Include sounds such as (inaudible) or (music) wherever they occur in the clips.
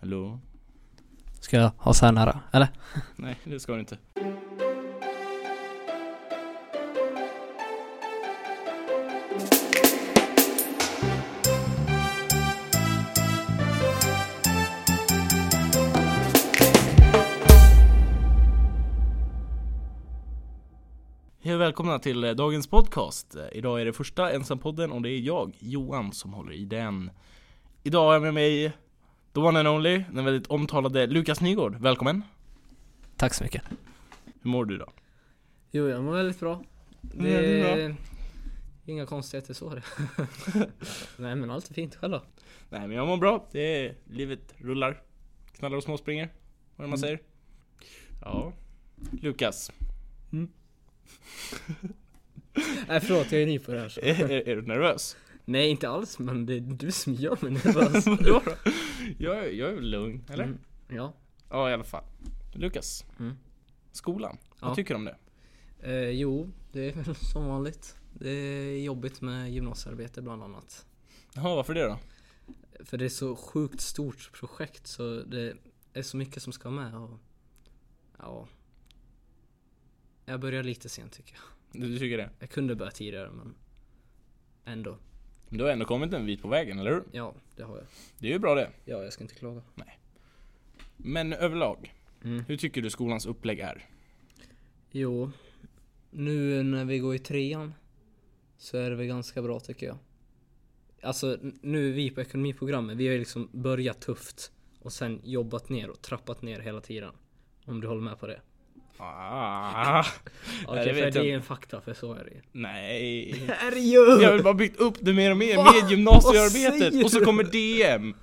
Hallå? Ska jag ha så här nära? Eller? Nej, det ska du inte. Hej och välkomna till eh, dagens podcast. Eh, Idag är det första ensampodden och det är jag, Johan, som håller i den. Idag har jag med mig the one and only, den väldigt omtalade Lukas Nygård. Välkommen! Tack så mycket. Hur mår du idag? Jo, jag mår väldigt bra. Ja, Mm, det är inga konstigheter så. det. (laughs) Nej men allt är fint, själv då? Nej men jag mår bra, det är, livet rullar. Knallar och småspringer, vad är det man säger. Mm. Ja. Lukas, Nej förlåt, jag är ny på det här. Så. är, Eh, (laughs) är, är du nervös? Nej inte alls, men det är du som gör (laughs) mig nervös. Vadå då? Jag, är- jag är väl lugn, eller? Mm, Ja. Ja i alla fall. Lukas, Mm. skolan, vad Ja. tycker du om det? Eh, jo, det är väl som vanligt. Det är jobbigt med gymnasiearbete bland annat. Jaha, varför det då? För det är så sjukt stort projekt så det är så mycket som ska med och... Ja. Jag börjar lite sent tycker jag. Du, du tycker det? Jag kunde börja tidigare men... Ändå. Men du har ändå kommit en bit på vägen, eller hur? Ja, det har jag. Det är ju bra det. Ja, jag ska inte klaga. Men överlag, Mm. hur tycker du skolans upplägg är? Jo, nu när vi går i trean så är det väl ganska bra tycker jag. Alltså n- nu är vi på ekonomiprogrammet, vi har ju liksom börjat tufft och sen jobbat ner och trappat ner hela tiden. Om du håller med på det? Ah, Okej, det vet för jag det inte. är en fakta, för så är det ju. (laughs) nej. Är det ju! Jag har väl bara byggt upp det mer och mer Va? med Vad gymnasiearbetet säger och så du? kommer DM.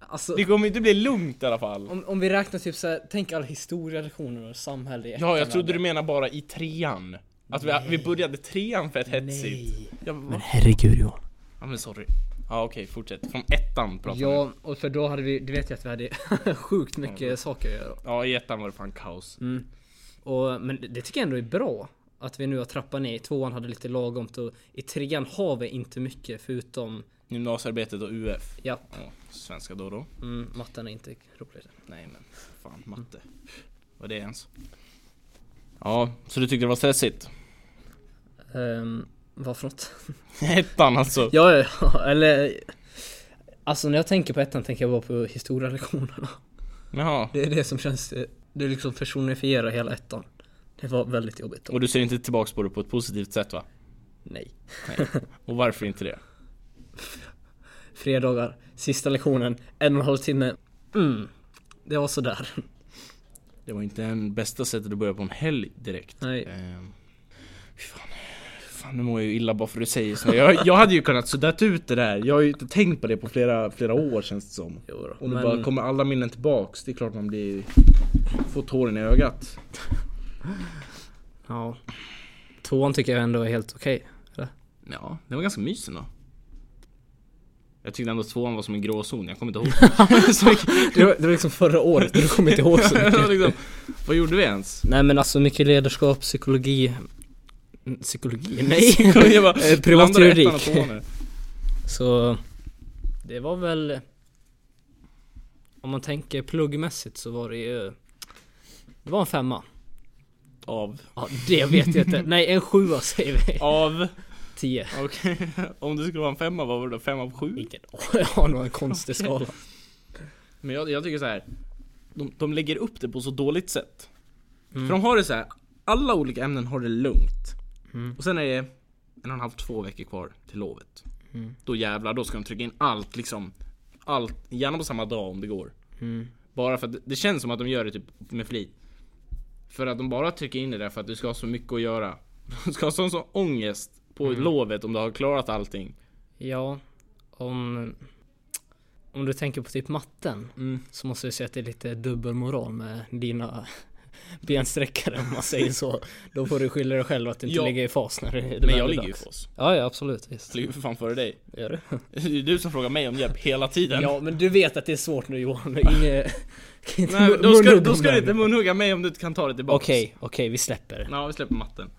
Alltså, Det kommer inte bli lugnt i alla fall. om, om vi räknar typ såhär, tänk alla historielektioner och samhälle i Ja, jag ettan trodde hade. du menade bara i trean. Att vi, vi började trean för ett hetsigt. Nej. Ja, va? herregud Johan. ja men sorry. Ja okej, fortsätt. Från ettan pratar vi. Ja, och för då hade vi, du vet ju att vi hade (laughs) sjukt mycket saker att göra. Ja i ettan var det fan kaos. Mm. Och, men det- det tycker jag ändå är bra. Att vi nu har trappat ner. I tvåan hade lite lagomt och i trean har vi inte mycket förutom Gymnasiearbetet och UF. ja, Ja, svenska då och då. mm, matten är inte rolig. Nej men fan matte. Vad är det ens? Ja, så du tyckte det var stressigt? (laughs) Um, vad för något? Ettan alltså. ja, ja, ja, (laughs) eller Alltså när jag tänker på ettan tänker jag bara på historielektionerna. (laughs) Jaha. Det är det som känns, eh, det liksom personifierar hela ettan. Det var väldigt jobbigt då. Och du ser inte tillbaks på det på ett positivt sätt va? Nej. Och varför inte det? Fredagar, sista lektionen, en och en halv timme. Mm. Det var sådär. (laughs) Det var inte den bästa sättet att börja på en helg direkt. Nej. Ehm, fy fan. fan, nu mår jag ju illa bara för att du säger så. Jag, jag hade ju kunnat suddat ut det där. Jag har ju inte tänkt på det på flera, flera år känns det som. Jo då. Och nu bara kommer alla minnen tillbaks. Det är klart man blir... Får tåren i ögat. Ja. Tvåan tycker jag ändå är helt okej. Ja, det var ganska mysigt då. Jag tyckte ändå att tvåan var som en gråzon, jag kommer inte ihåg. så mycket. Det, var, det var liksom förra året, du kommer inte ihåg så Det var mycket. liksom, vad gjorde vi ens? Nej men alltså mycket ledarskap, psykologi. Mm, Psykologi? (laughs) Nej! Jag bara, Eh, Privat blandade ettan och juridik. tvåan nu. Så det var väl Om man tänker pluggmässigt så var det ju Det var en femma. Av. Ja det vet jag (laughs) inte. Nej en sjua säger vi. Av. Tio. Okej, (laughs) om det skulle vara en femma, vad var det då? Fem av sju? Vilken, (laughs) jag har nog en konstig skala. Men jag, jag tycker så här. De, de lägger upp det på så dåligt sätt. Mm. För de har det så här. alla olika ämnen har det lugnt. Mm. Och sen är det en och en halv, två veckor kvar till lovet. Mm. Då jävlar, då ska de trycka in allt liksom. Allt, gärna på samma dag om det går. Mm. Bara för att det- det känns som att de gör det typ med flit. För att de bara trycker in det där för att du ska ha så mycket att göra. (laughs) Du ska ha sån, sån ångest på Mm. lovet om du har klarat allting. Ja, om Om du tänker på typ matten. Mm. Så måste jag säga att det är lite dubbelmoral med dina (laughs) bensträckare om man säger så. Då får du skylla dig själv att du inte Ja. ligger i fas när det är Men jag väl ligger ju dags. för oss. Ja, ja absolut. Visst. Jag ligger för fan före dig. (laughs) Gör du? Det är ju du som frågar mig om hjälp hela tiden. Ja, men du vet att det är svårt (laughs) nu Johan. Inge, kan (laughs) inte Nej, men mun- då ska, munhugga då om ska du det. inte munhugga mig om du inte kan ta det tillbaka. Okej, okej vi släpper det. Ja, vi släpper matten.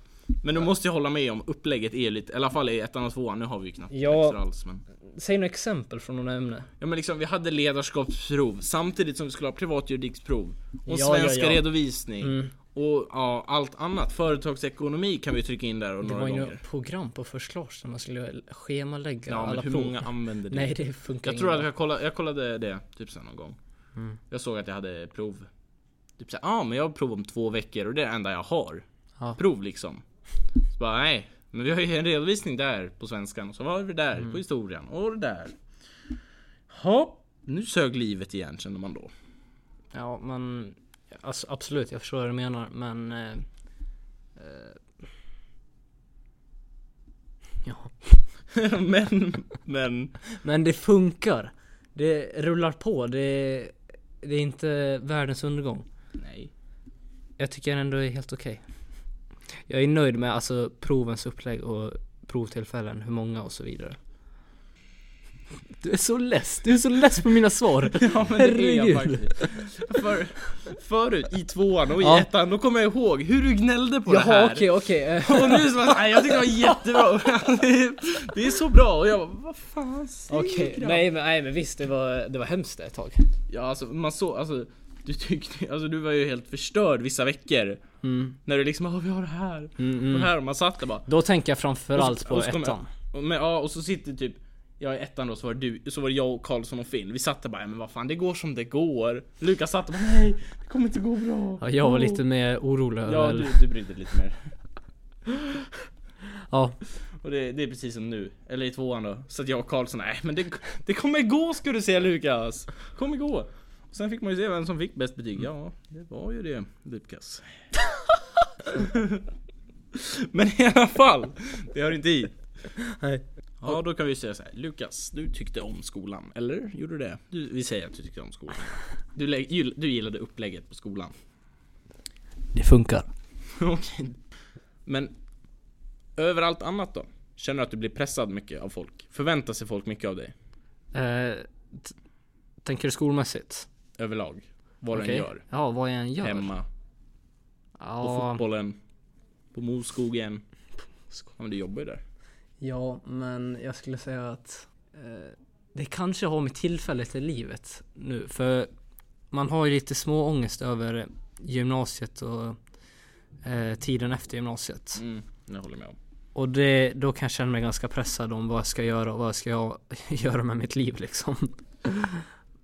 Men du måste jag hålla med om upplägget är lite, i alla fall i ettan och tvåan, nu har vi ju knappt Ja. läxor alls men Säg några exempel från några ämnen. Ja men liksom vi hade ledarskapsprov samtidigt som vi skulle ha privatjuridiksprov Ja, Och ja, svenska ja. redovisning Mm. Och ja, allt annat, företagsekonomi kan vi trycka in där och Det några var ju gånger något program på förslag som man skulle schemalägga Ja alla men hur prov. många använder det? Nej det funkar Jag tror att inte. jag kollade, jag kollade det typ sen någon gång. Mm. Jag såg att jag hade prov. Typ såhär, ja ah, men jag har prov om två veckor och det är det enda jag har. Ja. Prov liksom. Så bara, nej. Men vi har ju en redovisning där på svenskan och så har vi där Mm. på historien och det där. Ja, nu sög livet igen känner man då. (laughs) Ja men alltså, absolut jag förstår vad du menar men... Eh, eh, ja. men, men. Men det funkar. Det rullar på. Det, det är inte världens undergång. Nej. Jag tycker ändå det är helt okej. Jag är nöjd med alltså provens upplägg och provtillfällen, hur många och så vidare. Du är så less, du är så less (laughs) på mina svar! Ja men det är jag Herregud. faktiskt. För, förut i tvåan och i Ja. ettan, då kommer jag ihåg hur du gnällde på det här. Jaha okej okej, eh, Och nu så bara, nej jag tyckte det var (laughs) jättebra, det är, det är så bra och jag bara, vad fan säger okej. grabben?" Nej men, nej men visst, det var, det var hemskt ett tag. Ja alltså man såg, alltså du tyckte, alltså du var ju helt förstörd vissa veckor Mm, När du liksom, "Ah, vi har det här, mm, och det mm. här och man satt där bara Då tänker jag framförallt Och på så kommer jag- ettan. och, men, ja, och så sitter typ jag i ettan då så var, det du, så var det jag och Karlsson och Finn, vi satt där bara "Ja, men vad fan det går som det går Lukas satt och bara nej, det kommer inte gå bra Ja, jag var Åh. Oh. lite mer orolig Ja över... du, du brydde dig lite mer Ja. Och det, det är precis som nu, eller i tvåan då. Så att jag och Karlsson, nej men det, det kommer gå ska du se Lukas! Kommer gå! Och sen fick man ju se vem som fick bäst betyg. Ja, det var ju det Lukas. (laughs) men i alla fall, det hör inte hit. Nej. Ja, då kan vi säga så här. Lukas, du tyckte om skolan, eller? Gjorde du det? Du, vi säger att du tyckte om skolan. Du, lä- gill- du gillade upplägget på skolan. Det funkar. Okej. Men överallt annat då? Känner du att du blir pressad mycket av folk? Förväntar sig folk mycket av dig? Eh, t- tänker du skolmässigt? Överlag? Vad du Okej. än gör? Ja, vad jag än gör. Hemma, på Ja, fotbollen, på Moskogen? Ja, men du jobbar ju där. ja, men jag skulle säga att eh, det kanske har med tillfället i livet nu. För man har ju lite små ångest över gymnasiet och eh, tiden efter gymnasiet. Mm, det håller jag med om. Och det, då kan jag känna mig ganska pressad om vad jag ska göra och vad jag ska jag (laughs) göra med mitt liv liksom. (laughs)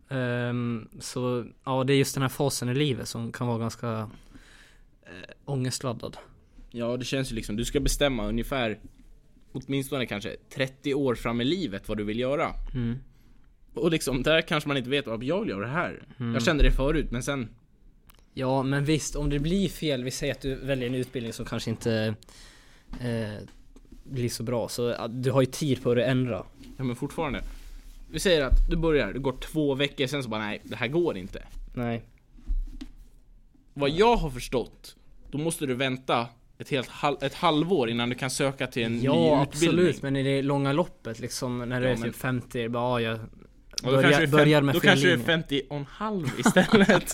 Ehm, så ja, det är just den här fasen i livet som kan vara ganska eh, ångestladdad. Ja, det känns ju liksom, du ska bestämma ungefär åtminstone kanske 30 år fram i livet vad du vill göra. Mm. Och liksom, där kanske man inte vet vad jag gör det här. Jag kände det förut, men sen Ja men visst, om det blir fel, vi säger att du väljer en utbildning som kanske inte eh, blir så bra, så eh, du har ju tid på dig att ändra. Ja men fortfarande. Vi säger att du börjar, det går två veckor sen så bara nej, det här går inte. Nej. Vad jag har förstått, då måste du vänta ett helt hal- ett halvår innan du kan söka till en ny Ja absolut, utbildning. men i det långa loppet liksom, när du Ja, är men- typ 50, bara ja, jag Och börjar, kanske du är fem- börjar med Då fel kanske du är linje. 50 och en halv (laughs) istället.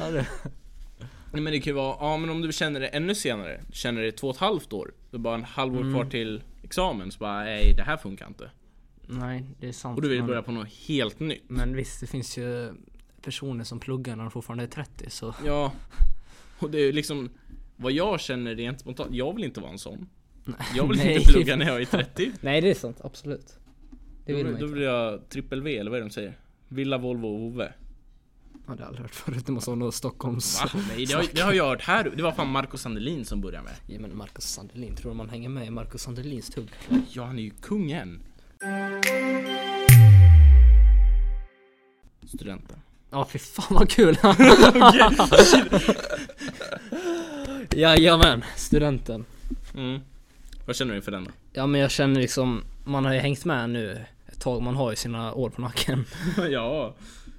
Ja, det- nej men det kan ju vara, ja men om du känner det ännu senare, du känner det två och ett halvt år, då är bara en halvår kvar Mm. till examen, så bara nej det här funkar inte. Nej, det är sant. Och du vill men, börja på något helt nytt. men visst, det finns ju personer som pluggar när de fortfarande är 30, så Ja. Och det är ju liksom vad jag känner rent spontant. Jag vill inte vara en sån. Jag (laughs) vill Nej. inte plugga när jag är 30. Nej det är sant, absolut. (laughs) Det vill då, man då inte. blir jag trippel V eller vad är det de säger? Villa, Volvo och Ove. Ja, det har jag aldrig hört förut, det måste vara något Stockholms... Va? Nej det har, det har jag hört här. Det var fan Marco Sandelin som började med. Ja, men Marcus Sandelin, tror du man hänger med i Marcus Sandelins tugg? Ja han är ju kungen. Studenten. Ja fy fan vad (laughs) kul! Jajamän, studenten. Mm. Vad känner du inför den då? (laughs) Ja men jag känner liksom, man har ju hängt med nu ett tag, man har ju sina år på nacken. ja.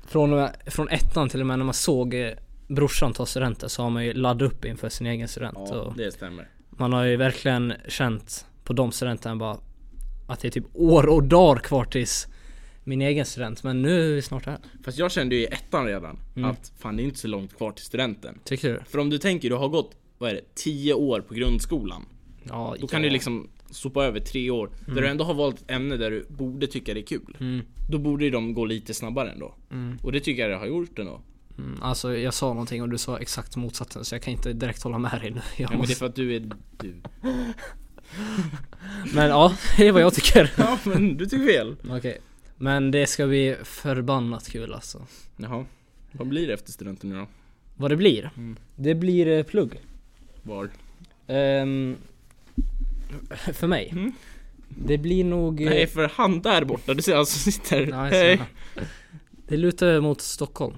Från, och med- från ettan till och med när man såg eh, brorsan ta studenten så har man ju laddat upp inför sin egen student. Ja och det stämmer. man har ju verkligen känt på de studenterna bara att det är typ år och dagar kvar tills min egen student. Men nu är vi snart här. Fast jag kände ju i ettan redan Mm. att fan det är inte så långt kvar till studenten. Tycker du? För om du tänker, du har gått, vad är det, 10 år på grundskolan. Ja, Då kan ja. du liksom sopa över tre år där du ändå har valt ett ämne där du borde tycka det är kul. Mm. Då borde ju de gå lite snabbare ändå. Mm. Och det tycker jag det har gjort ändå. Mm, alltså jag sa någonting och du sa exakt motsatsen så jag kan inte direkt hålla med dig nu. (laughs) Ja, men Jag det är måste... för att du är du. men ja, (laughs) det är vad jag tycker. Ja men du tycker fel. Okej. Men det ska bli förbannat kul alltså. Jaha. Vad blir det efter studenten nu då? Vad det blir? Mm. Det blir eh, plugg. Var? Ehm, för mig? Mm. Det blir nog... eh, Nej för han där borta, du ser han som sitter. nej, Hej. snälla. Det lutar mot Stockholm.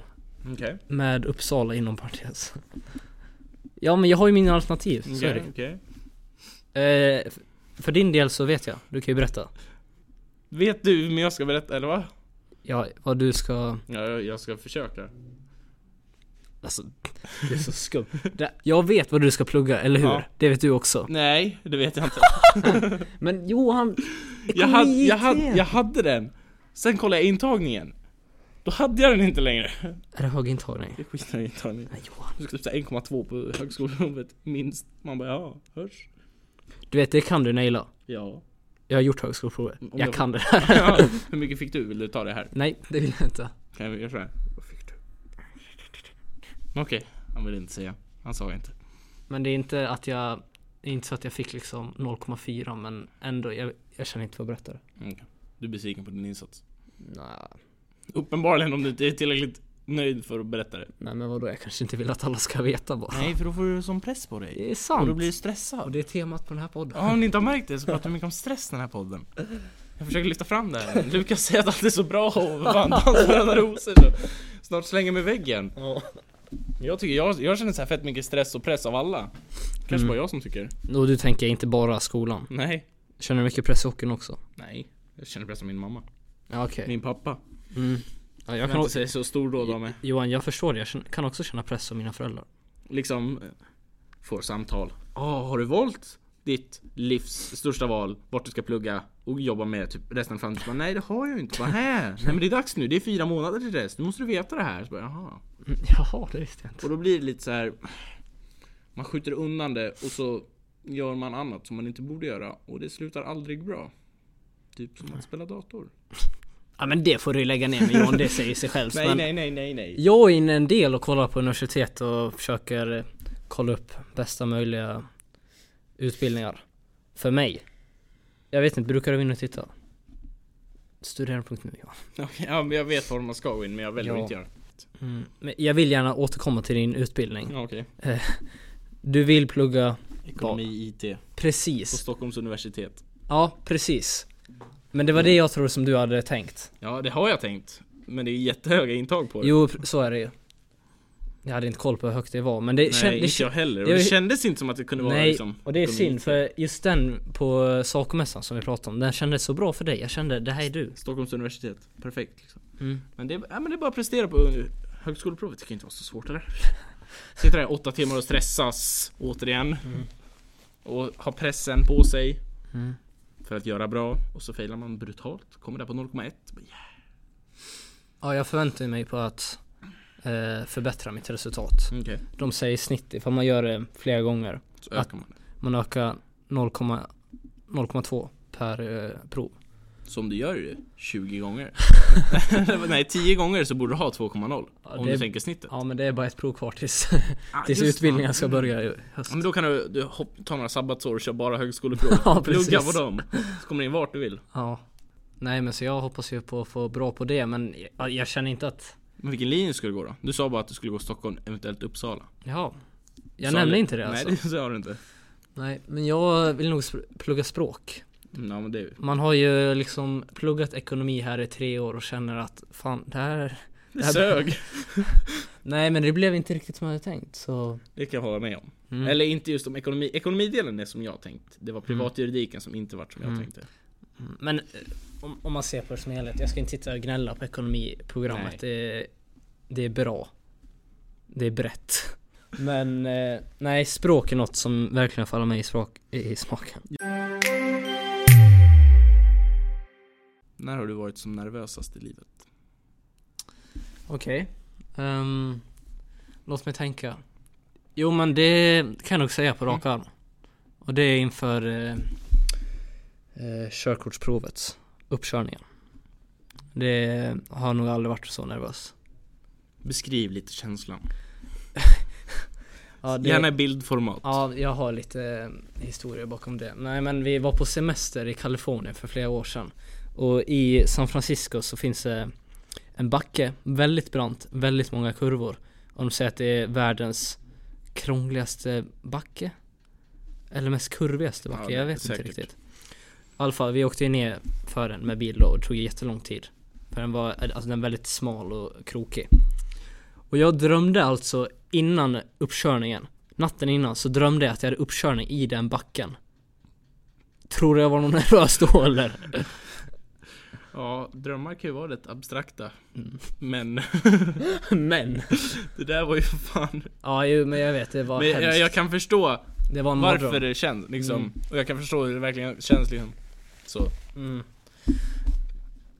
Okej. Med Uppsala inom parentes. Ja men jag har ju mina alternativ, så är det Okej. ju. okej. Eh, f- För din del så vet jag, du kan ju berätta. Vet du men jag ska berätta, eller va? Ja, vad du ska... Ja, jag- jag ska försöka. Alltså, du är så skum. Det- Jag vet vad du ska plugga, eller hur? Ja. Det vet du också. Nej, det vet jag inte. Men Johan, Jag, hade, jag, hade, jag hade den. Sen kollade jag intagningen. Då hade jag den inte (laughs) längre. Är det hög intagning? Jag skiter i intagningen. Nej Johan. Du ska typ säga 1,2 på högskoleprovet, minst. Man bara ja, hörs. Du vet, det kan du naila. Ja. Jag har gjort högskoleprovet. Om Jag, jag- kan det här. (laughs) (laughs) ja. (laughs) Hur mycket fick du? Vill du ta det här? Nej, det vill jag inte. Kan vi göra såhär? Vad fick du? Okej, han ville inte säga. Han sa inte. Men det är inte att jag... Det är inte så att jag fick liksom 0,4 men ändå, jag, jag känner inte för att berätta det. Okej. Du är besviken på din insats. Nej. Uppenbarligen om du inte är tillräckligt nöjd för att berätta det. Nej men vadå, jag kanske inte vill att alla ska veta bara. Nej, för då får du sån press på dig. Det är sant. Och då blir du Och stressad. det är temat på den här podden. Ja, om ni inte har märkt det så pratar vi mycket om stress i den här podden. Jag försöker lyfta fram det här. Lukas säger att allt är så bra och fan dans röda rosor. Så snart slänger mig i väggen. Jag, tycker, jag, jag känner så här fett mycket stress och press av alla. Kanske Mm. bara jag som tycker. Och du tänker inte bara skolan. Nej. Känner du mycket press i hockeyn också? Nej. Jag känner press av min mamma. Ja okej. Min pappa. Mm. Ja, jag Jag kan kan också... inte säga så stor då de är. Johan, jag förstår det. Jag känner- kan också känna press av mina föräldrar. Liksom eh, får samtal. Ja, har du valt ditt livs största val? Vart du ska plugga och jobba med typ resten av framtiden? Så bara, Nej, det har jag ju inte. Bara, (laughs) här. Nej, men det är dags nu. Det är fyra månader till dess. Nu måste du veta det här. Så bara, Jaha. Mm, jaha, det visste jag inte. Och då blir det lite så här. Man skjuter undan det och så gör man annat som man inte borde göra och det slutar aldrig bra. Typ som att spela dator. Ja men det får du ju lägga ner med Johan, det säger sig självt. Nej, men nej, nej, nej, nej. Jag är inne en del och kollar på universitet och försöker eh, kolla upp bästa möjliga utbildningar. För mig. Jag vet inte, brukar du gå in och titta? Studerande.nu ja. Okej, ja, men jag vet var man ska gå in men jag väljer Ja. att inte göra. Mm. Men jag vill gärna återkomma till din utbildning. Ja, okej. Du vill plugga Ekonomi, IT. På precis. Stockholms universitet. Ja, precis. Men det var Mm. det jag tror som du hade tänkt. Ja, det har jag tänkt. Men det är jättehöga intag på det. Jo, pr- så är det ju. Jag hade inte koll på hur högt det var men det, Nej, kän- det inte kän- jag heller. Och det- det kändes inte som att det kunde vara Nej, liksom... och det är de- synd för just den på eh, Sacomässan som vi pratade om, den kändes så bra för dig. Jag kände, det här är du. Stockholms universitet. Perfekt. Liksom. Mm. Men, det, ja, men det är bara att prestera på högskoleprovet. Det kan inte vara så svårt eller? (laughs) Sitta där i åtta timmar och stressas återigen. Och ha pressen på sig. Mm. För att göra bra. Och så failar man brutalt. Kommer där på 0,1. Bara, yeah. Ja, jag förväntar mig på att eh, förbättra mitt resultat. Okej, De säger snitt ifall man gör det flera gånger. så ökar man det. Man ökar 0,0 0,2 per eh, prov. Så om du gör det 20 (laughs) gånger. (laughs) Nej, 10 gånger så borde du ha 2,0. Ja, om det- du tänker snittet. Ja men det är bara ett prov kvar (laughs) tills, Ah, tills Typ. just Mm. utbildningen fan. ska börja i höst. Ja, men då kan du, du hopp, ta några sabbatsår och köra bara högskoleprov. (laughs) Ja, precis. Plugga på dem. Så kommer du in vart du vill. Ja. Nej men så jag hoppas ju på att få bra på det men jag, jag känner inte att, Men vilken linje skulle du gå då? Du sa bara att du skulle gå Stockholm, eventuellt Uppsala. ja. Jag Sa nämnde du- inte det alltså. Nej, (laughs) det sa du inte. Nej, men jag vill nog spr- plugga språk. Mm, Ja, men det är ju... Man har ju liksom pluggat ekonomi här i tre år och känner att fan, det här... Det här- sög. Nej, men det blev inte riktigt som jag hade tänkt så... Det kan jag hålla med om. Mm. Eller inte just om ekonomi. Ekonomidelen är som jag tänkt. Det var privatjuridiken som inte vart som jag Mm. tänkte. Men eh, om, om man ser på det som helhet, jag ska inte sitta och gnälla på ekonomiprogrammet. Nej. Det, är- det är bra. Det är brett. Men eh, nej, språk är något som verkligen faller mig i, språk, i smaken. När har du varit som nervösast i livet? Okej. Ehm, Mm. låt mig tänka. Jo men det kan jag nog säga på rak arm. Och Och det är inför eh, eh, körkortsprovet, uppkörningen. Det har nog aldrig varit så nervös. Beskriv lite känslan. Ja, det- Gärna i bildformat. Ja, jag har lite eh, historia bakom det. Nej men vi var på semester i Kalifornien för flera år sedan. Och i San Francisco så finns det en backe, väldigt brant, väldigt många kurvor. Och de säger att det är världens krångligaste backe. Eller mest kurvigaste backe, Ja, jag vet säkert. inte riktigt. I alla fall, vi åkte ju ner för den med bil då och det tog jättelång tid. För den var alltså, den är väldigt smal och krokig. Och jag drömde alltså innan uppkörningen, natten innan, så drömde jag att jag hade uppkörning i den backen. Tror du jag var någon (laughs) nervös då eller? Ja, drömmar kan ju vara rätt abstrakta. Mm. Men (laughs) Men! det där var ju för fan. Ja, ju, men jag vet, det var Men hemskt. jag, jag kan förstå det var en varför mardröm. det känns liksom. Mm. Och jag kan förstå hur det verkligen känns liksom. Så. Mm.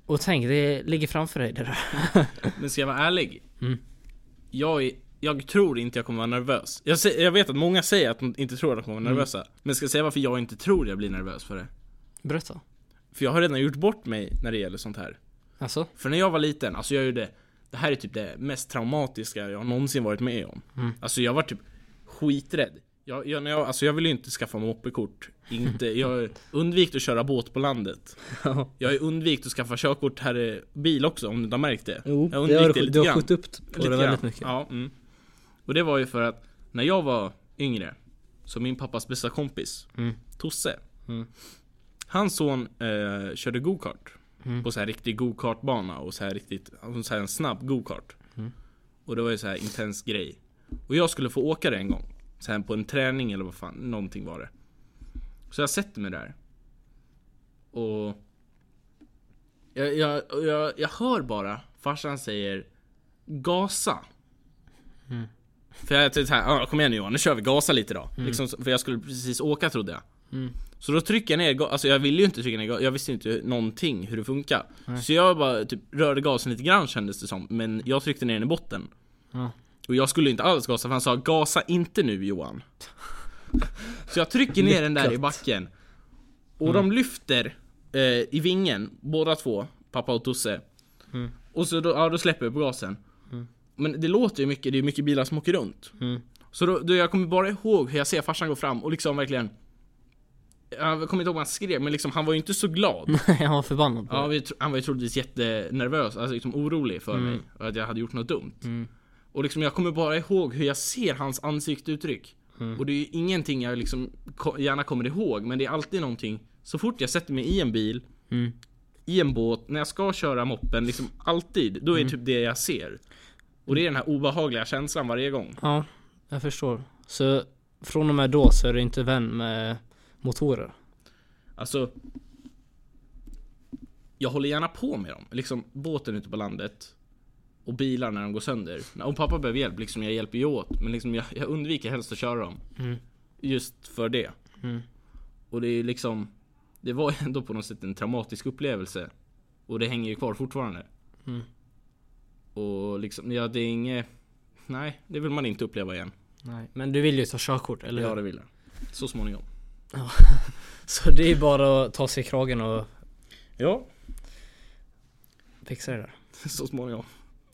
Och tänk, det ligger framför dig det där. Men ska jag vara ärlig? Mm. Jag, är, jag tror inte jag kommer vara nervös. Jag, sä- jag vet att många säger att de inte tror att de kommer vara Mm. nervösa. Men ska jag säga varför jag inte tror jag blir nervös för det? Berätta. För jag har redan gjort bort mig när det gäller sånt här. Alltså? För när jag var liten, alltså jag gjorde Det här är typ det mest traumatiska jag någonsin varit med om Mm. Alltså jag var typ skiträdd jag, jag, när jag, alltså jag ville ju inte skaffa moppekort inte, Jag undvik att köra båt på landet Ja. Jag har undvikit att skaffa körkort här i bil också om du inte har märkt det Jo, Jag det har, undvek det du- lite du har grann. skjutit upp på det grann. väldigt mycket. Ja, mm. Och det var ju för att när jag var yngre Så min pappas bästa kompis Mm. Tosse Mm. Hans son eh, körde gokart Mm. På så här riktig gokartbana och så här riktigt alltså så här en snabb gokart Mm. Och det var ju så här intens grej Och jag skulle få åka det en gång så här på en träning eller vad fan, någonting var det Så jag sätter mig där Och jag, jag, jag, jag hör bara farsan säger Gasa. För jag tänkte såhär, "Ja, kom igen nu Johan, nu kör vi, gasa lite då. Liksom, så- för jag skulle precis åka trodde jag. Mm. Så då trycker jag ner ga- alltså jag ville ju inte trycka ner gasen, jag visste ju inte någonting hur det funkar. Så jag bara typ rörde gasen lite grann kändes det som, men jag tryckte ner den i botten. Ja. Och jag skulle inte alls gasa för han sa 'Gasa inte nu Johan' Så jag trycker ner den där i Lyckat. Mm. backen Och de lyfter eh, i vingen, båda två, pappa och Tosse Mm. Och så då, ja, då släpper jag på gasen Men det låter ju mycket, det är mycket bilar som åker runt Mm. Så då, då jag kommer bara ihåg hur jag ser farsan gå fram och liksom verkligen Jag kommer inte ihåg vad han skrev men liksom han var ju inte så glad (laughs) jag var förbannad på Ja, det. vi, tro- han var ju troligtvis jättenervös, alltså liksom orolig för mig och att jag hade gjort något dumt. Mm. Och liksom jag kommer bara ihåg hur jag ser hans ansiktsuttryck. Mm. Och det är ju ingenting jag liksom ko- gärna kommer ihåg, men det är alltid någonting. Så fort jag sätter mig i en bil, Mm. i en båt, när jag ska köra moppen, liksom alltid, då är Mm. det typ det jag ser. Och det är den här obehagliga känslan varje gång. Ja, jag förstår. Så från och med då så är du inte vän med motorer? Alltså Jag håller gärna på med dem, liksom båten ute på landet Och bilar när de går sönder Om pappa behöver hjälp, liksom jag hjälper ju åt Men liksom jag, jag undviker helst att köra dem Mm. Just för det Mm. Och det är ju liksom Det var ändå på något sätt en traumatisk upplevelse Och det hänger ju kvar fortfarande Mm. Och liksom, ja det är inget Nej, det vill man inte uppleva igen Nej. Men du vill ju ta körkort, eller Ja hur? det vill jag Så småningom Så det är bara att ta sig i kragen och Ja, fixa det där. (laughs) så småningom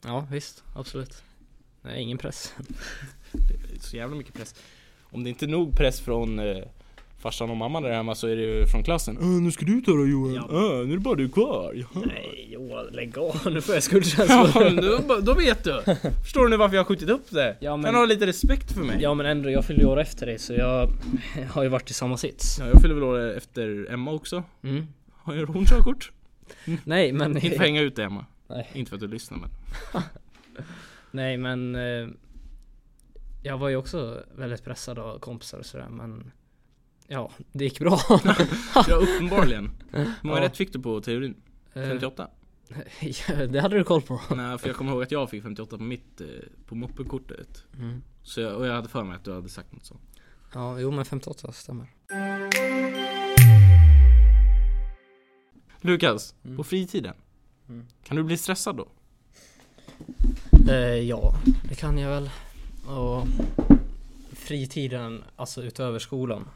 Ja, visst. Absolut. Nej, ingen press. (laughs) Det är så jävla mycket press. Om det inte är nog press från eh, farsan och mamman där hemma så är det ju från klassen. Äh, nu ska du ta då Johan. Ja. Äh, nu är det bara du kvar. (laughs) Ja. Nej, Johan, lägg av. Nu får jag skuldkänslor. Ja, (laughs) men då, då vet du! Förstår du nu varför jag har skjutit upp det? Ja, men- Kan du ha lite respekt för mig? ja, men ändå, jag fyllde ju år efter dig så jag (laughs) har ju varit i samma sits. Ja, jag fyller väl år efter Emma också. Mm. Har ju hon körkort? Nej, men... (laughs) Inte för att hänga ut dig Emma. Nej. Inte för att du lyssnar (laughs) men. Nej men eh, Jag var ju också väldigt pressad av kompisar och sådär men Ja, det (laughs) gick bra. Eh, Ja uppenbarligen. Hur många Ja. rätt fick du på teorin? Eh, 58? (laughs) ja, det hade du koll på. Nej för jag kommer ihåg att jag fick 58 på mitt, eh, på moppekortet. Mm. Så jag, och jag hade för mig att du hade sagt något sånt. Ja, jo men 58 stämmer. Lukas, Mm. på fritiden. Kan du bli stressad då? Eh, ja, det kan jag väl. Och fritiden, alltså utöver skolan.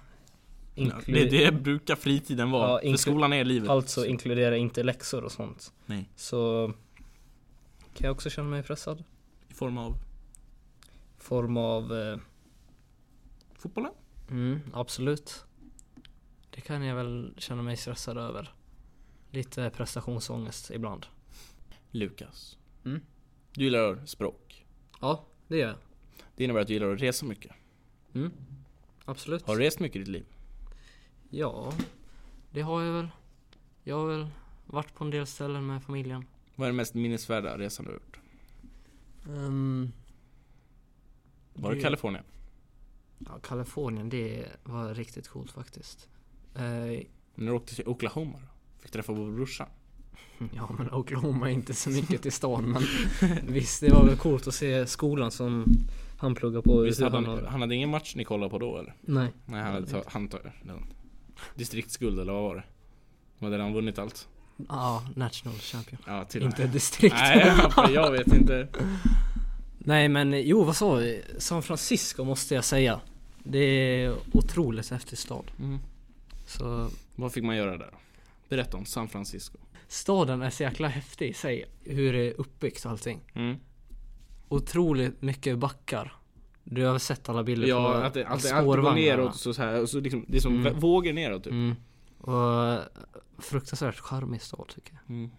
Det, Inklu- det brukar fritiden vara, Ja, för inklu- skolan är livet. alltså Så- inkludera inte läxor och sånt. Nej. Så kan jag också känna mig pressad. I form av Form av eh, fotbollen? Mm, absolut. Det kan jag väl känna mig stressad över. Lite prestationsångest ibland. Lukas. Mm. Du gillar språk. Ja, det gör jag. Det innebär att du gillar att resa mycket. Mm. Absolut. Har du rest mycket i ditt liv? Ja, det har jag väl. Jag har väl varit på en del ställen med familjen. Vad är den mest minnesvärda resan du har gjort? Ehm. Var det Det- Kalifornien? Ja, Kalifornien, det var riktigt coolt faktiskt. Eh, När du åkte till Oklahoma då? Fick träffa vår brorsa? Ja men Oklahoma är inte så mycket till stan men (laughs) visst det var väl coolt att se skolan som han pluggar på. Visst hur hade han, har- han hade ingen match ni kollade på då eller? Nej. Nej han hade det ta, han tog den. Distriktsguld eller vad var det? Vad hade han vunnit allt? Ja, national champion. Ja till Inte distrikt. Nej (laughs) för jag vet inte. Nej men eh, jo vad sa vi? San Francisco måste jag säga. Det är otroligt häftig stad. Mm. Så Vad fick man göra där? Berätta om San Francisco. staden är så jäkla häftig i sig. Hur det är uppbyggt och allting. Mm. Otroligt mycket backar. Du har väl sett alla bilder på Ja, att det, att det alltid går neråt så, så här, och så liksom, det är som Mm. vä- vågor neråt typ. Mm. Och fruktansvärt charmig stad tycker jag. Mm.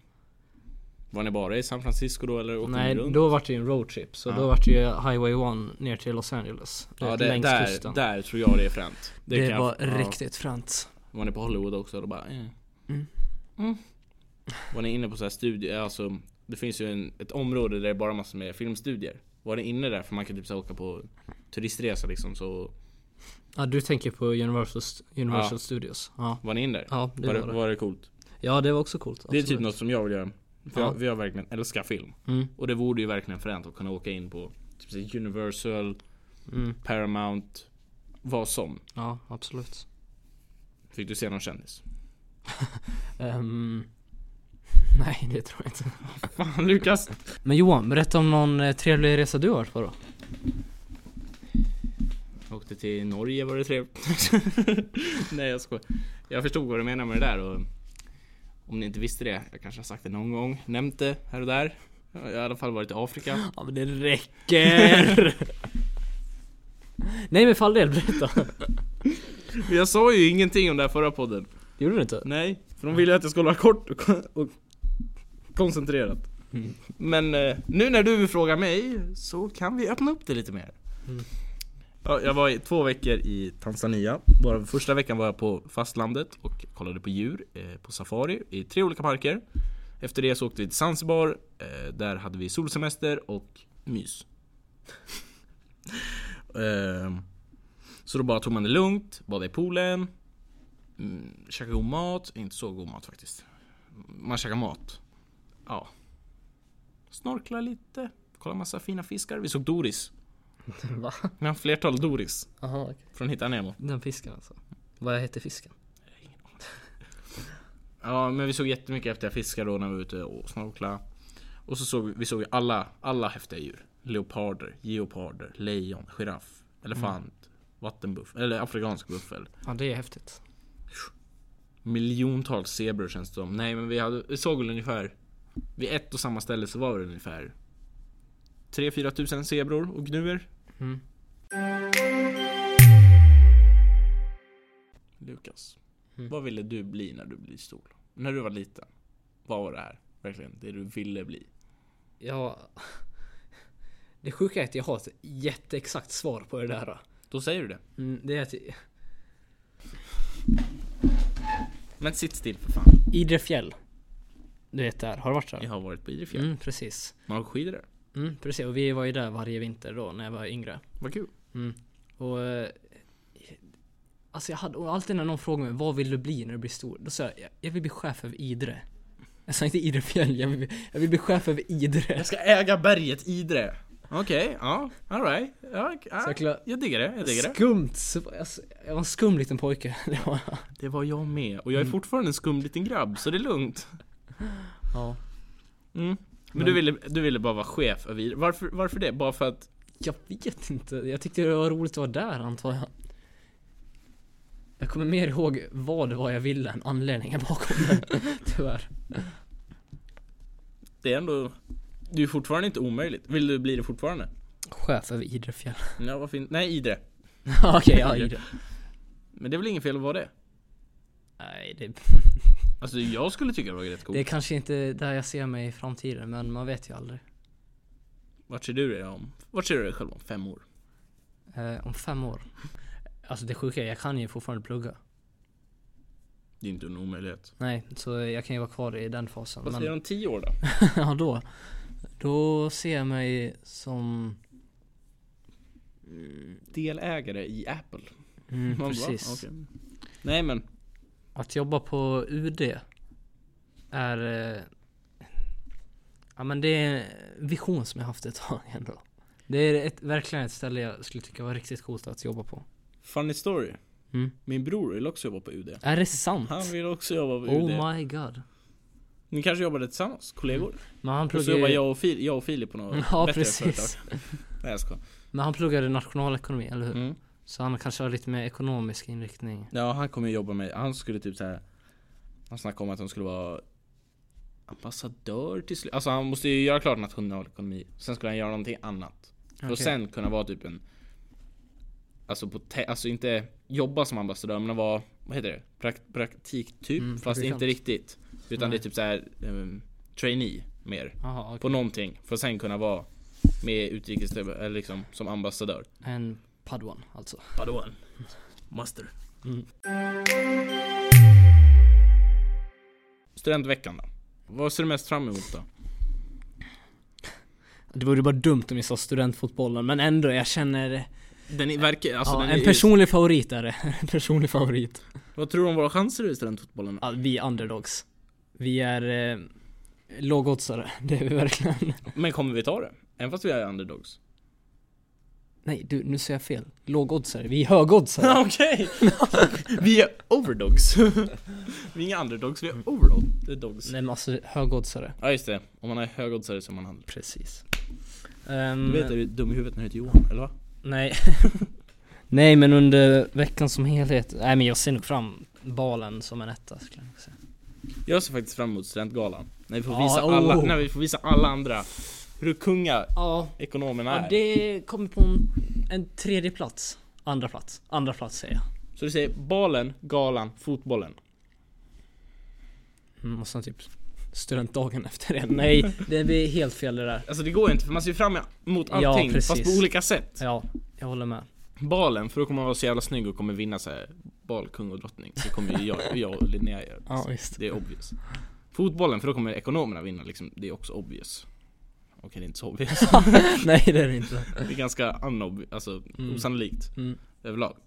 Var ni bara i San Francisco då eller åkte Nej, ni runt? då var det ju en roadtrip. Så Ja. då var det ju Highway 1 ner till Los Angeles. ja, vet, det, längs där, kusten. där tror jag det är fränt. det kan jag- var ja. riktigt fränt. Var ni på Hollywood också? Då bara, eh. Mm. Mm. Var ni inne på så här studier? Alltså, det finns ju en, ett område där det är bara massor med filmstudier. Var ni inne där? För man kan typ så här åka på turistresa liksom. Så Ja, du tänker på Universal, Universal Ja. Studios? Ja. var ni inne där? Ja, det var, var, det, det. var det coolt? Ja, det var också coolt. Det är typ absolut. något som jag vill göra. För Ja. jag, för jag verkligen älskar film. Mm. Och det vore ju verkligen fränt att kunna åka in på typ så här Universal, Mm. Paramount, vad som. Ja, absolut. Fick du se någon (laughs) kändis? Ehm, (laughs) nej, det tror jag inte. Fan Lukas! Men Johan, berätta om någon eh, trevlig resa du har varit på då. Åkte till Norge var det trevligt. (laughs) Nej jag skojar. Jag förstod vad du menar med det där och om ni inte visste det, jag kanske har sagt det någon gång, nämnt det här och där. Jag har i alla fall varit i Afrika. Ja, men det räcker! (laughs) nej, men för all del, berätta. Men jag sa ju ingenting om det här förra podden. (laughs) Gjorde du inte? Nej, för de ville att jag skulle vara kort och, och koncentrerat. Mm. Men eh, nu när du frågar mig så kan vi öppna upp det lite mer. Mm. Ja, jag var i två veckor i Tanzania. Bara första veckan var jag på fastlandet och kollade på djur eh, på safari i tre olika parker. Efter det så åkte vi till Zanzibar. Eh, där hade vi solsemester och (laughs) mys. eh, så då bara tog man det lugnt, badade i poolen, mm, käkade god mat. Inte så god mat faktiskt. Man käkade mat. Ja. Snorkla lite, kolla massa fina fiskar. Vi såg Doris. Va? Vi har flertal Doris Aha, okej. från Hitta Nemo. Den fisken alltså. Vad heter fisken? Ja, men vi såg jättemycket häftiga fiskar då när vi var ute och snorkla. Och så såg vi, vi såg ju alla, alla häftiga djur. Leoparder, geoparder, lejon, giraff, elefant, vattenbuff, eller afrikansk buffel. Ja, det är häftigt. Miljontals zebror känns det som. Nej men vi, hade, vi såg väl ungefär Vid ett och samma ställe så var det ungefär 3-4 tusen zebror och gnuer. Mm. Lukas, Mm. vad ville du bli när du blev stor? När du var liten? Vad var det här? Verkligen, det du ville bli? Ja... (laughs) Det sjuka är att jag har ett jätteexakt svar på det där. Då säger du det. Mm, det är att Men sitt still för fan. Idre fjäll. Du vet där, har du varit där? Jag har varit på Idrefjäll. Mm, precis. Man har skidor där. Mm, precis. Och vi var ju där varje vinter då när jag var yngre. Vad kul. Eh. Och... eh, Alltså jag hade, och alltid när någon frågade mig vad vill du bli när du blir stor? Då sa jag, "Jag- jag vill bli chef över Idre. Jag sa inte Idre fjäll, jag vill, bli- jag vill bli chef över Idre. Jag ska äga berget Idre. Okej, ja. Alright. Ja, Så ja. jag kla- Jag diggar det, jag diggar det. Skumt! så- alltså, Jag var en skum liten pojke. (laughs) Det var jag. Det var jag med. Och jag är fortfarande en skum liten grabb, så det är lugnt. Ja. Mm. Men, Men- Du, ville, du ville bara vara chef över Idre. Varför, varför det? Bara för att Jag vet inte. Jag tyckte det var roligt att vara där antar jag. Jag kommer mer ihåg vad det var jag ville än anledningen bakom det. (laughs) Tyvärr. Det är ändå... Det är fortfarande inte omöjligt. Vill du bli det fortfarande? Chef över Idrefjäll. Ja, vad fint. Nej, Idre. Okej, (laughs) ja Idre. Men det är väl inget fel att vara det? Nej, det, Alltså jag skulle tycka det var rätt coolt. det är kanske inte där jag ser mig i framtiden, men man vet ju aldrig. Vart ser du dig om? Vart ser du dig själv om fem år? Eh, om fem år. Alltså det sjuka är, jag kan ju fortfarande plugga. Det är inte en omöjlighet. Nej, så jag kan ju vara kvar i den fasen. (laughs) Vad säger du om tio år då? ja, då. Då ser jag mig som... Delägare i Apple. Mm, Man bara, precis. okej. Nej men, Att jobba på UD är... eh, Ja men det är en vision som jag haft ett tag ändå. Det är ett, verkligen ett ställe jag skulle tycka var riktigt coolt att jobba på. funny story. Mm. Min bror vill också jobba på UD. Är det sant? Han vill också jobba på UD. Oh my god. Ni kanske jobbade tillsammans? Kollegor? Men han Och så pluggar jobbar ju- jag och, Fil- jag och Filip på något (laughs) Ja bättre precis. företag. Nej jag skojar. Men han pluggade nationalekonomi, eller hur? Mm. Så han kanske har lite mer ekonomisk inriktning. Ja han kommer ju jobba med, han skulle typ så här. Han snackade om att han skulle vara ambassadör till slut. Alltså han måste ju göra klart nationalekonomi. Sen skulle han göra någonting annat. För att Okej. sen kunna vara typ en Alltså, på te- alltså inte jobba som ambassadör men att vara, vad heter det? Prakt- praktiktyp Mm, fast praktikant. inte riktigt. Utan Nej. det är typ så här ehm, trainee mer. Jaha, På okej. någonting. För att sen kunna vara med utrikes, eller liksom som ambassadör. En padwan alltså. Padawan. Master. Mm. Studentveckan då? Vad ser du mest fram emot då? Det vore bara dumt om jag sa studentfotbollen, men ändå, jag känner... Den är, verkar, alltså ja, den en är, personlig favorit är det. (laughs) En personlig favorit. Vad tror du om våra chanser i studentfotbollen? Ja, vi är underdogs. Vi är eh, lågoddsare, (laughs) det är vi verkligen. Men kommer vi ta det? Även fast vi är underdogs? (laughs) Nej, du, nu säger jag fel. Lågoddsare, vi är högoddsare. Okej! (laughs) vi är overdogs. (laughs) vi är inga underdogs, vi är overdogs. Nej men alltså högoddsare. Ja just det, om man är högoddsare så är man handlar. Precis. Du Ehm, vet är du dum i huvudet när du heter Johan, eller va? Nej. (laughs) nej men under veckan som helhet, nej men jag ser nog fram balen som en etta skulle jag nog säga. Jag ser faktiskt fram emot studentgalan. När vi får Ja, visa, oh. alla, när vi får visa alla andra hur kunga Ja, ekonomerna ja är. det kommer på en, en tredje plats. Andra plats, andra plats säger jag. Så du säger balen, galan, fotbollen. Mm, och sen typ studentdagen (laughs) efter det. Nej, det blir helt fel det där. Alltså det går ju inte för man ser ju fram emot Ja, allting fast precis. på olika sätt. Ja, jag håller med. Balen, för då kommer man vara så jävla snygg och kommer vinna så här bal, kung och drottning. Det kommer ju jag, jag och Linnea göra. Ja, visst. Det är obvious. Fotbollen, för då kommer ekonomerna vinna liksom. Det är också obvious. Okej, det är inte så obvious. (laughs) Nej det är det inte. Det är ganska unobvious, alltså Mm. osannolikt Mm. överlag.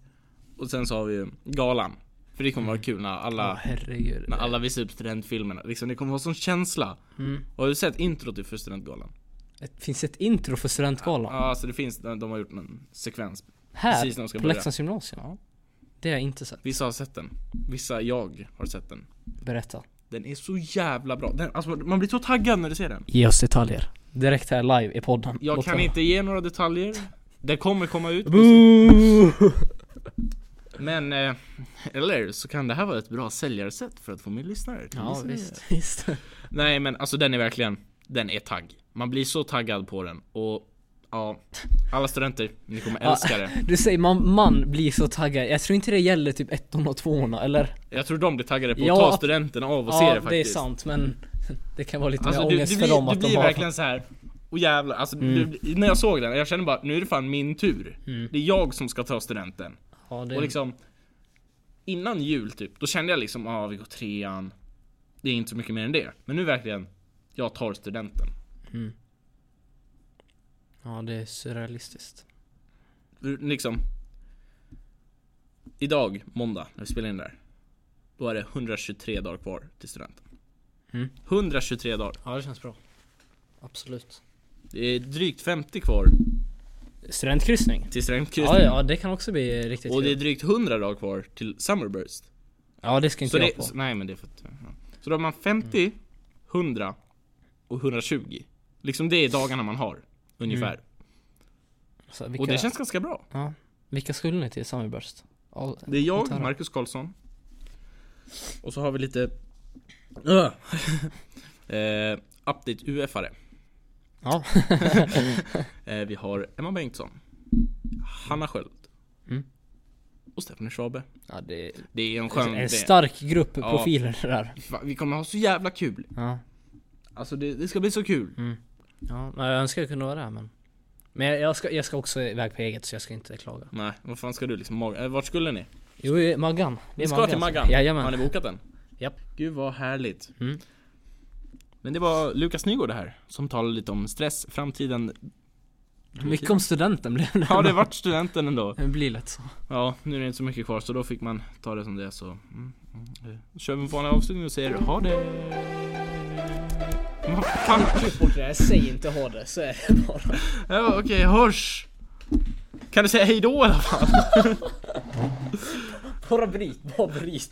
Och sen så har vi ju galan. För det kommer vara kul när alla, Ja herregud. när alla visar upp studentfilmerna. Liksom, det kommer vara sån känsla. Mm. Har du sett introt till för studentgalan? Ett, finns ett intro för Ja, studentgalan? alltså det finns, de har gjort en sekvens. här? precis när de ska på börja. Leksands gymnasium? Ja. Det har jag inte sett. Vissa har sett den. Vissa, jag, har sett den. Berätta. Den är så jävla bra. Den, alltså, man blir så taggad när du ser den. Ge oss detaljer. Direkt här live i podden. Jag Låt kan höra. inte ge några detaljer. Den kommer komma ut. Men, eh, eller så kan det här vara ett bra säljarsätt för att få min lyssnare till Ja lyssna. visst, visst. Nej men alltså den är verkligen, den är tagg. Man blir så taggad på den och ja, alla studenter, ni kommer Ja. älska det. Du säger man, man blir så taggad. Jag tror inte det gäller typ ettan och tvåorna eller? Jag tror de blir taggade på Ja. att ta studenten av och se det ja faktiskt. det är sant men (laughs) det kan vara lite Alltså mer du, ångest du för dem blir, du att blir de har... verkligen så här. Och jävlar, alltså Mm. du, när jag såg den, jag kände bara nu är det fan min tur. Mm. Det är jag som ska ta studenten. Ja, det... Och liksom Innan jul typ, då kände jag liksom ja ah, vi går trean. Det är inte så mycket mer än det. Men nu verkligen, jag tar studenten. ja det är surrealistiskt. Liksom Idag, måndag, när vi spelar in där. Då är det 123 dagar kvar till studenten. Mm. 123 dagar. Ja det känns bra. Absolut. Det är drygt 50 kvar Studentkryssning? till Ja, studentkryssningen. ja det kan också bli riktigt Och det är kul. drygt 100 dagar kvar till Summerburst. Ja det ska inte Så jag på. Mm. det, så, nej men det är för att, ja. Så då har man 50, 100 och 120. Liksom det är dagarna man har. Ungefär. Så vilka, Och det känns ganska bra. ja, vilka skulle ni till Summerburst? All- Det är jag, Tara. Marcus Karlsson. Och så har vi lite... Öh. (laughs) eh, update UF-are. Ja. (laughs) Eh, vi har Emma Bengtsson. Hanna Sköld. Mm. Och Stephanie Schwabe. ja, det är Det är en skön... Alltså, en det- stark grupp Ja. profiler det där. Va, Vi kommer ha så jävla kul. Ja. Alltså det, det ska bli så kul. ja, men jag önskar jag kunde vara där men. Men jag- jag ska, jag ska också iväg på eget så jag ska inte klaga. Nej, vad fan ska du liksom? Mag- eh, vart skulle ni? Jo, i Maggan. Det Vi är alltså. ska till Maggan. Har ni Jajamän. bokat den? Japp. Gud vad härligt. Mm. Men det var Lukas Nygård här, som talade lite om stress, framtiden. Mycket om studenten blev det. Ja, det vart studenten ändå. (laughs) Det blir lätt så. Ja, nu är det inte så mycket kvar så då fick man ta det som det är så. Mm, mm. eh, Kör vi en vanlig avslutning och säger ha det. Vad fan? Klipp bort det där, säg inte ha det, så är det bara. Ja, okej, hörs! Kan du säga hejdå i alla fall? Bara bryt, bara bryt.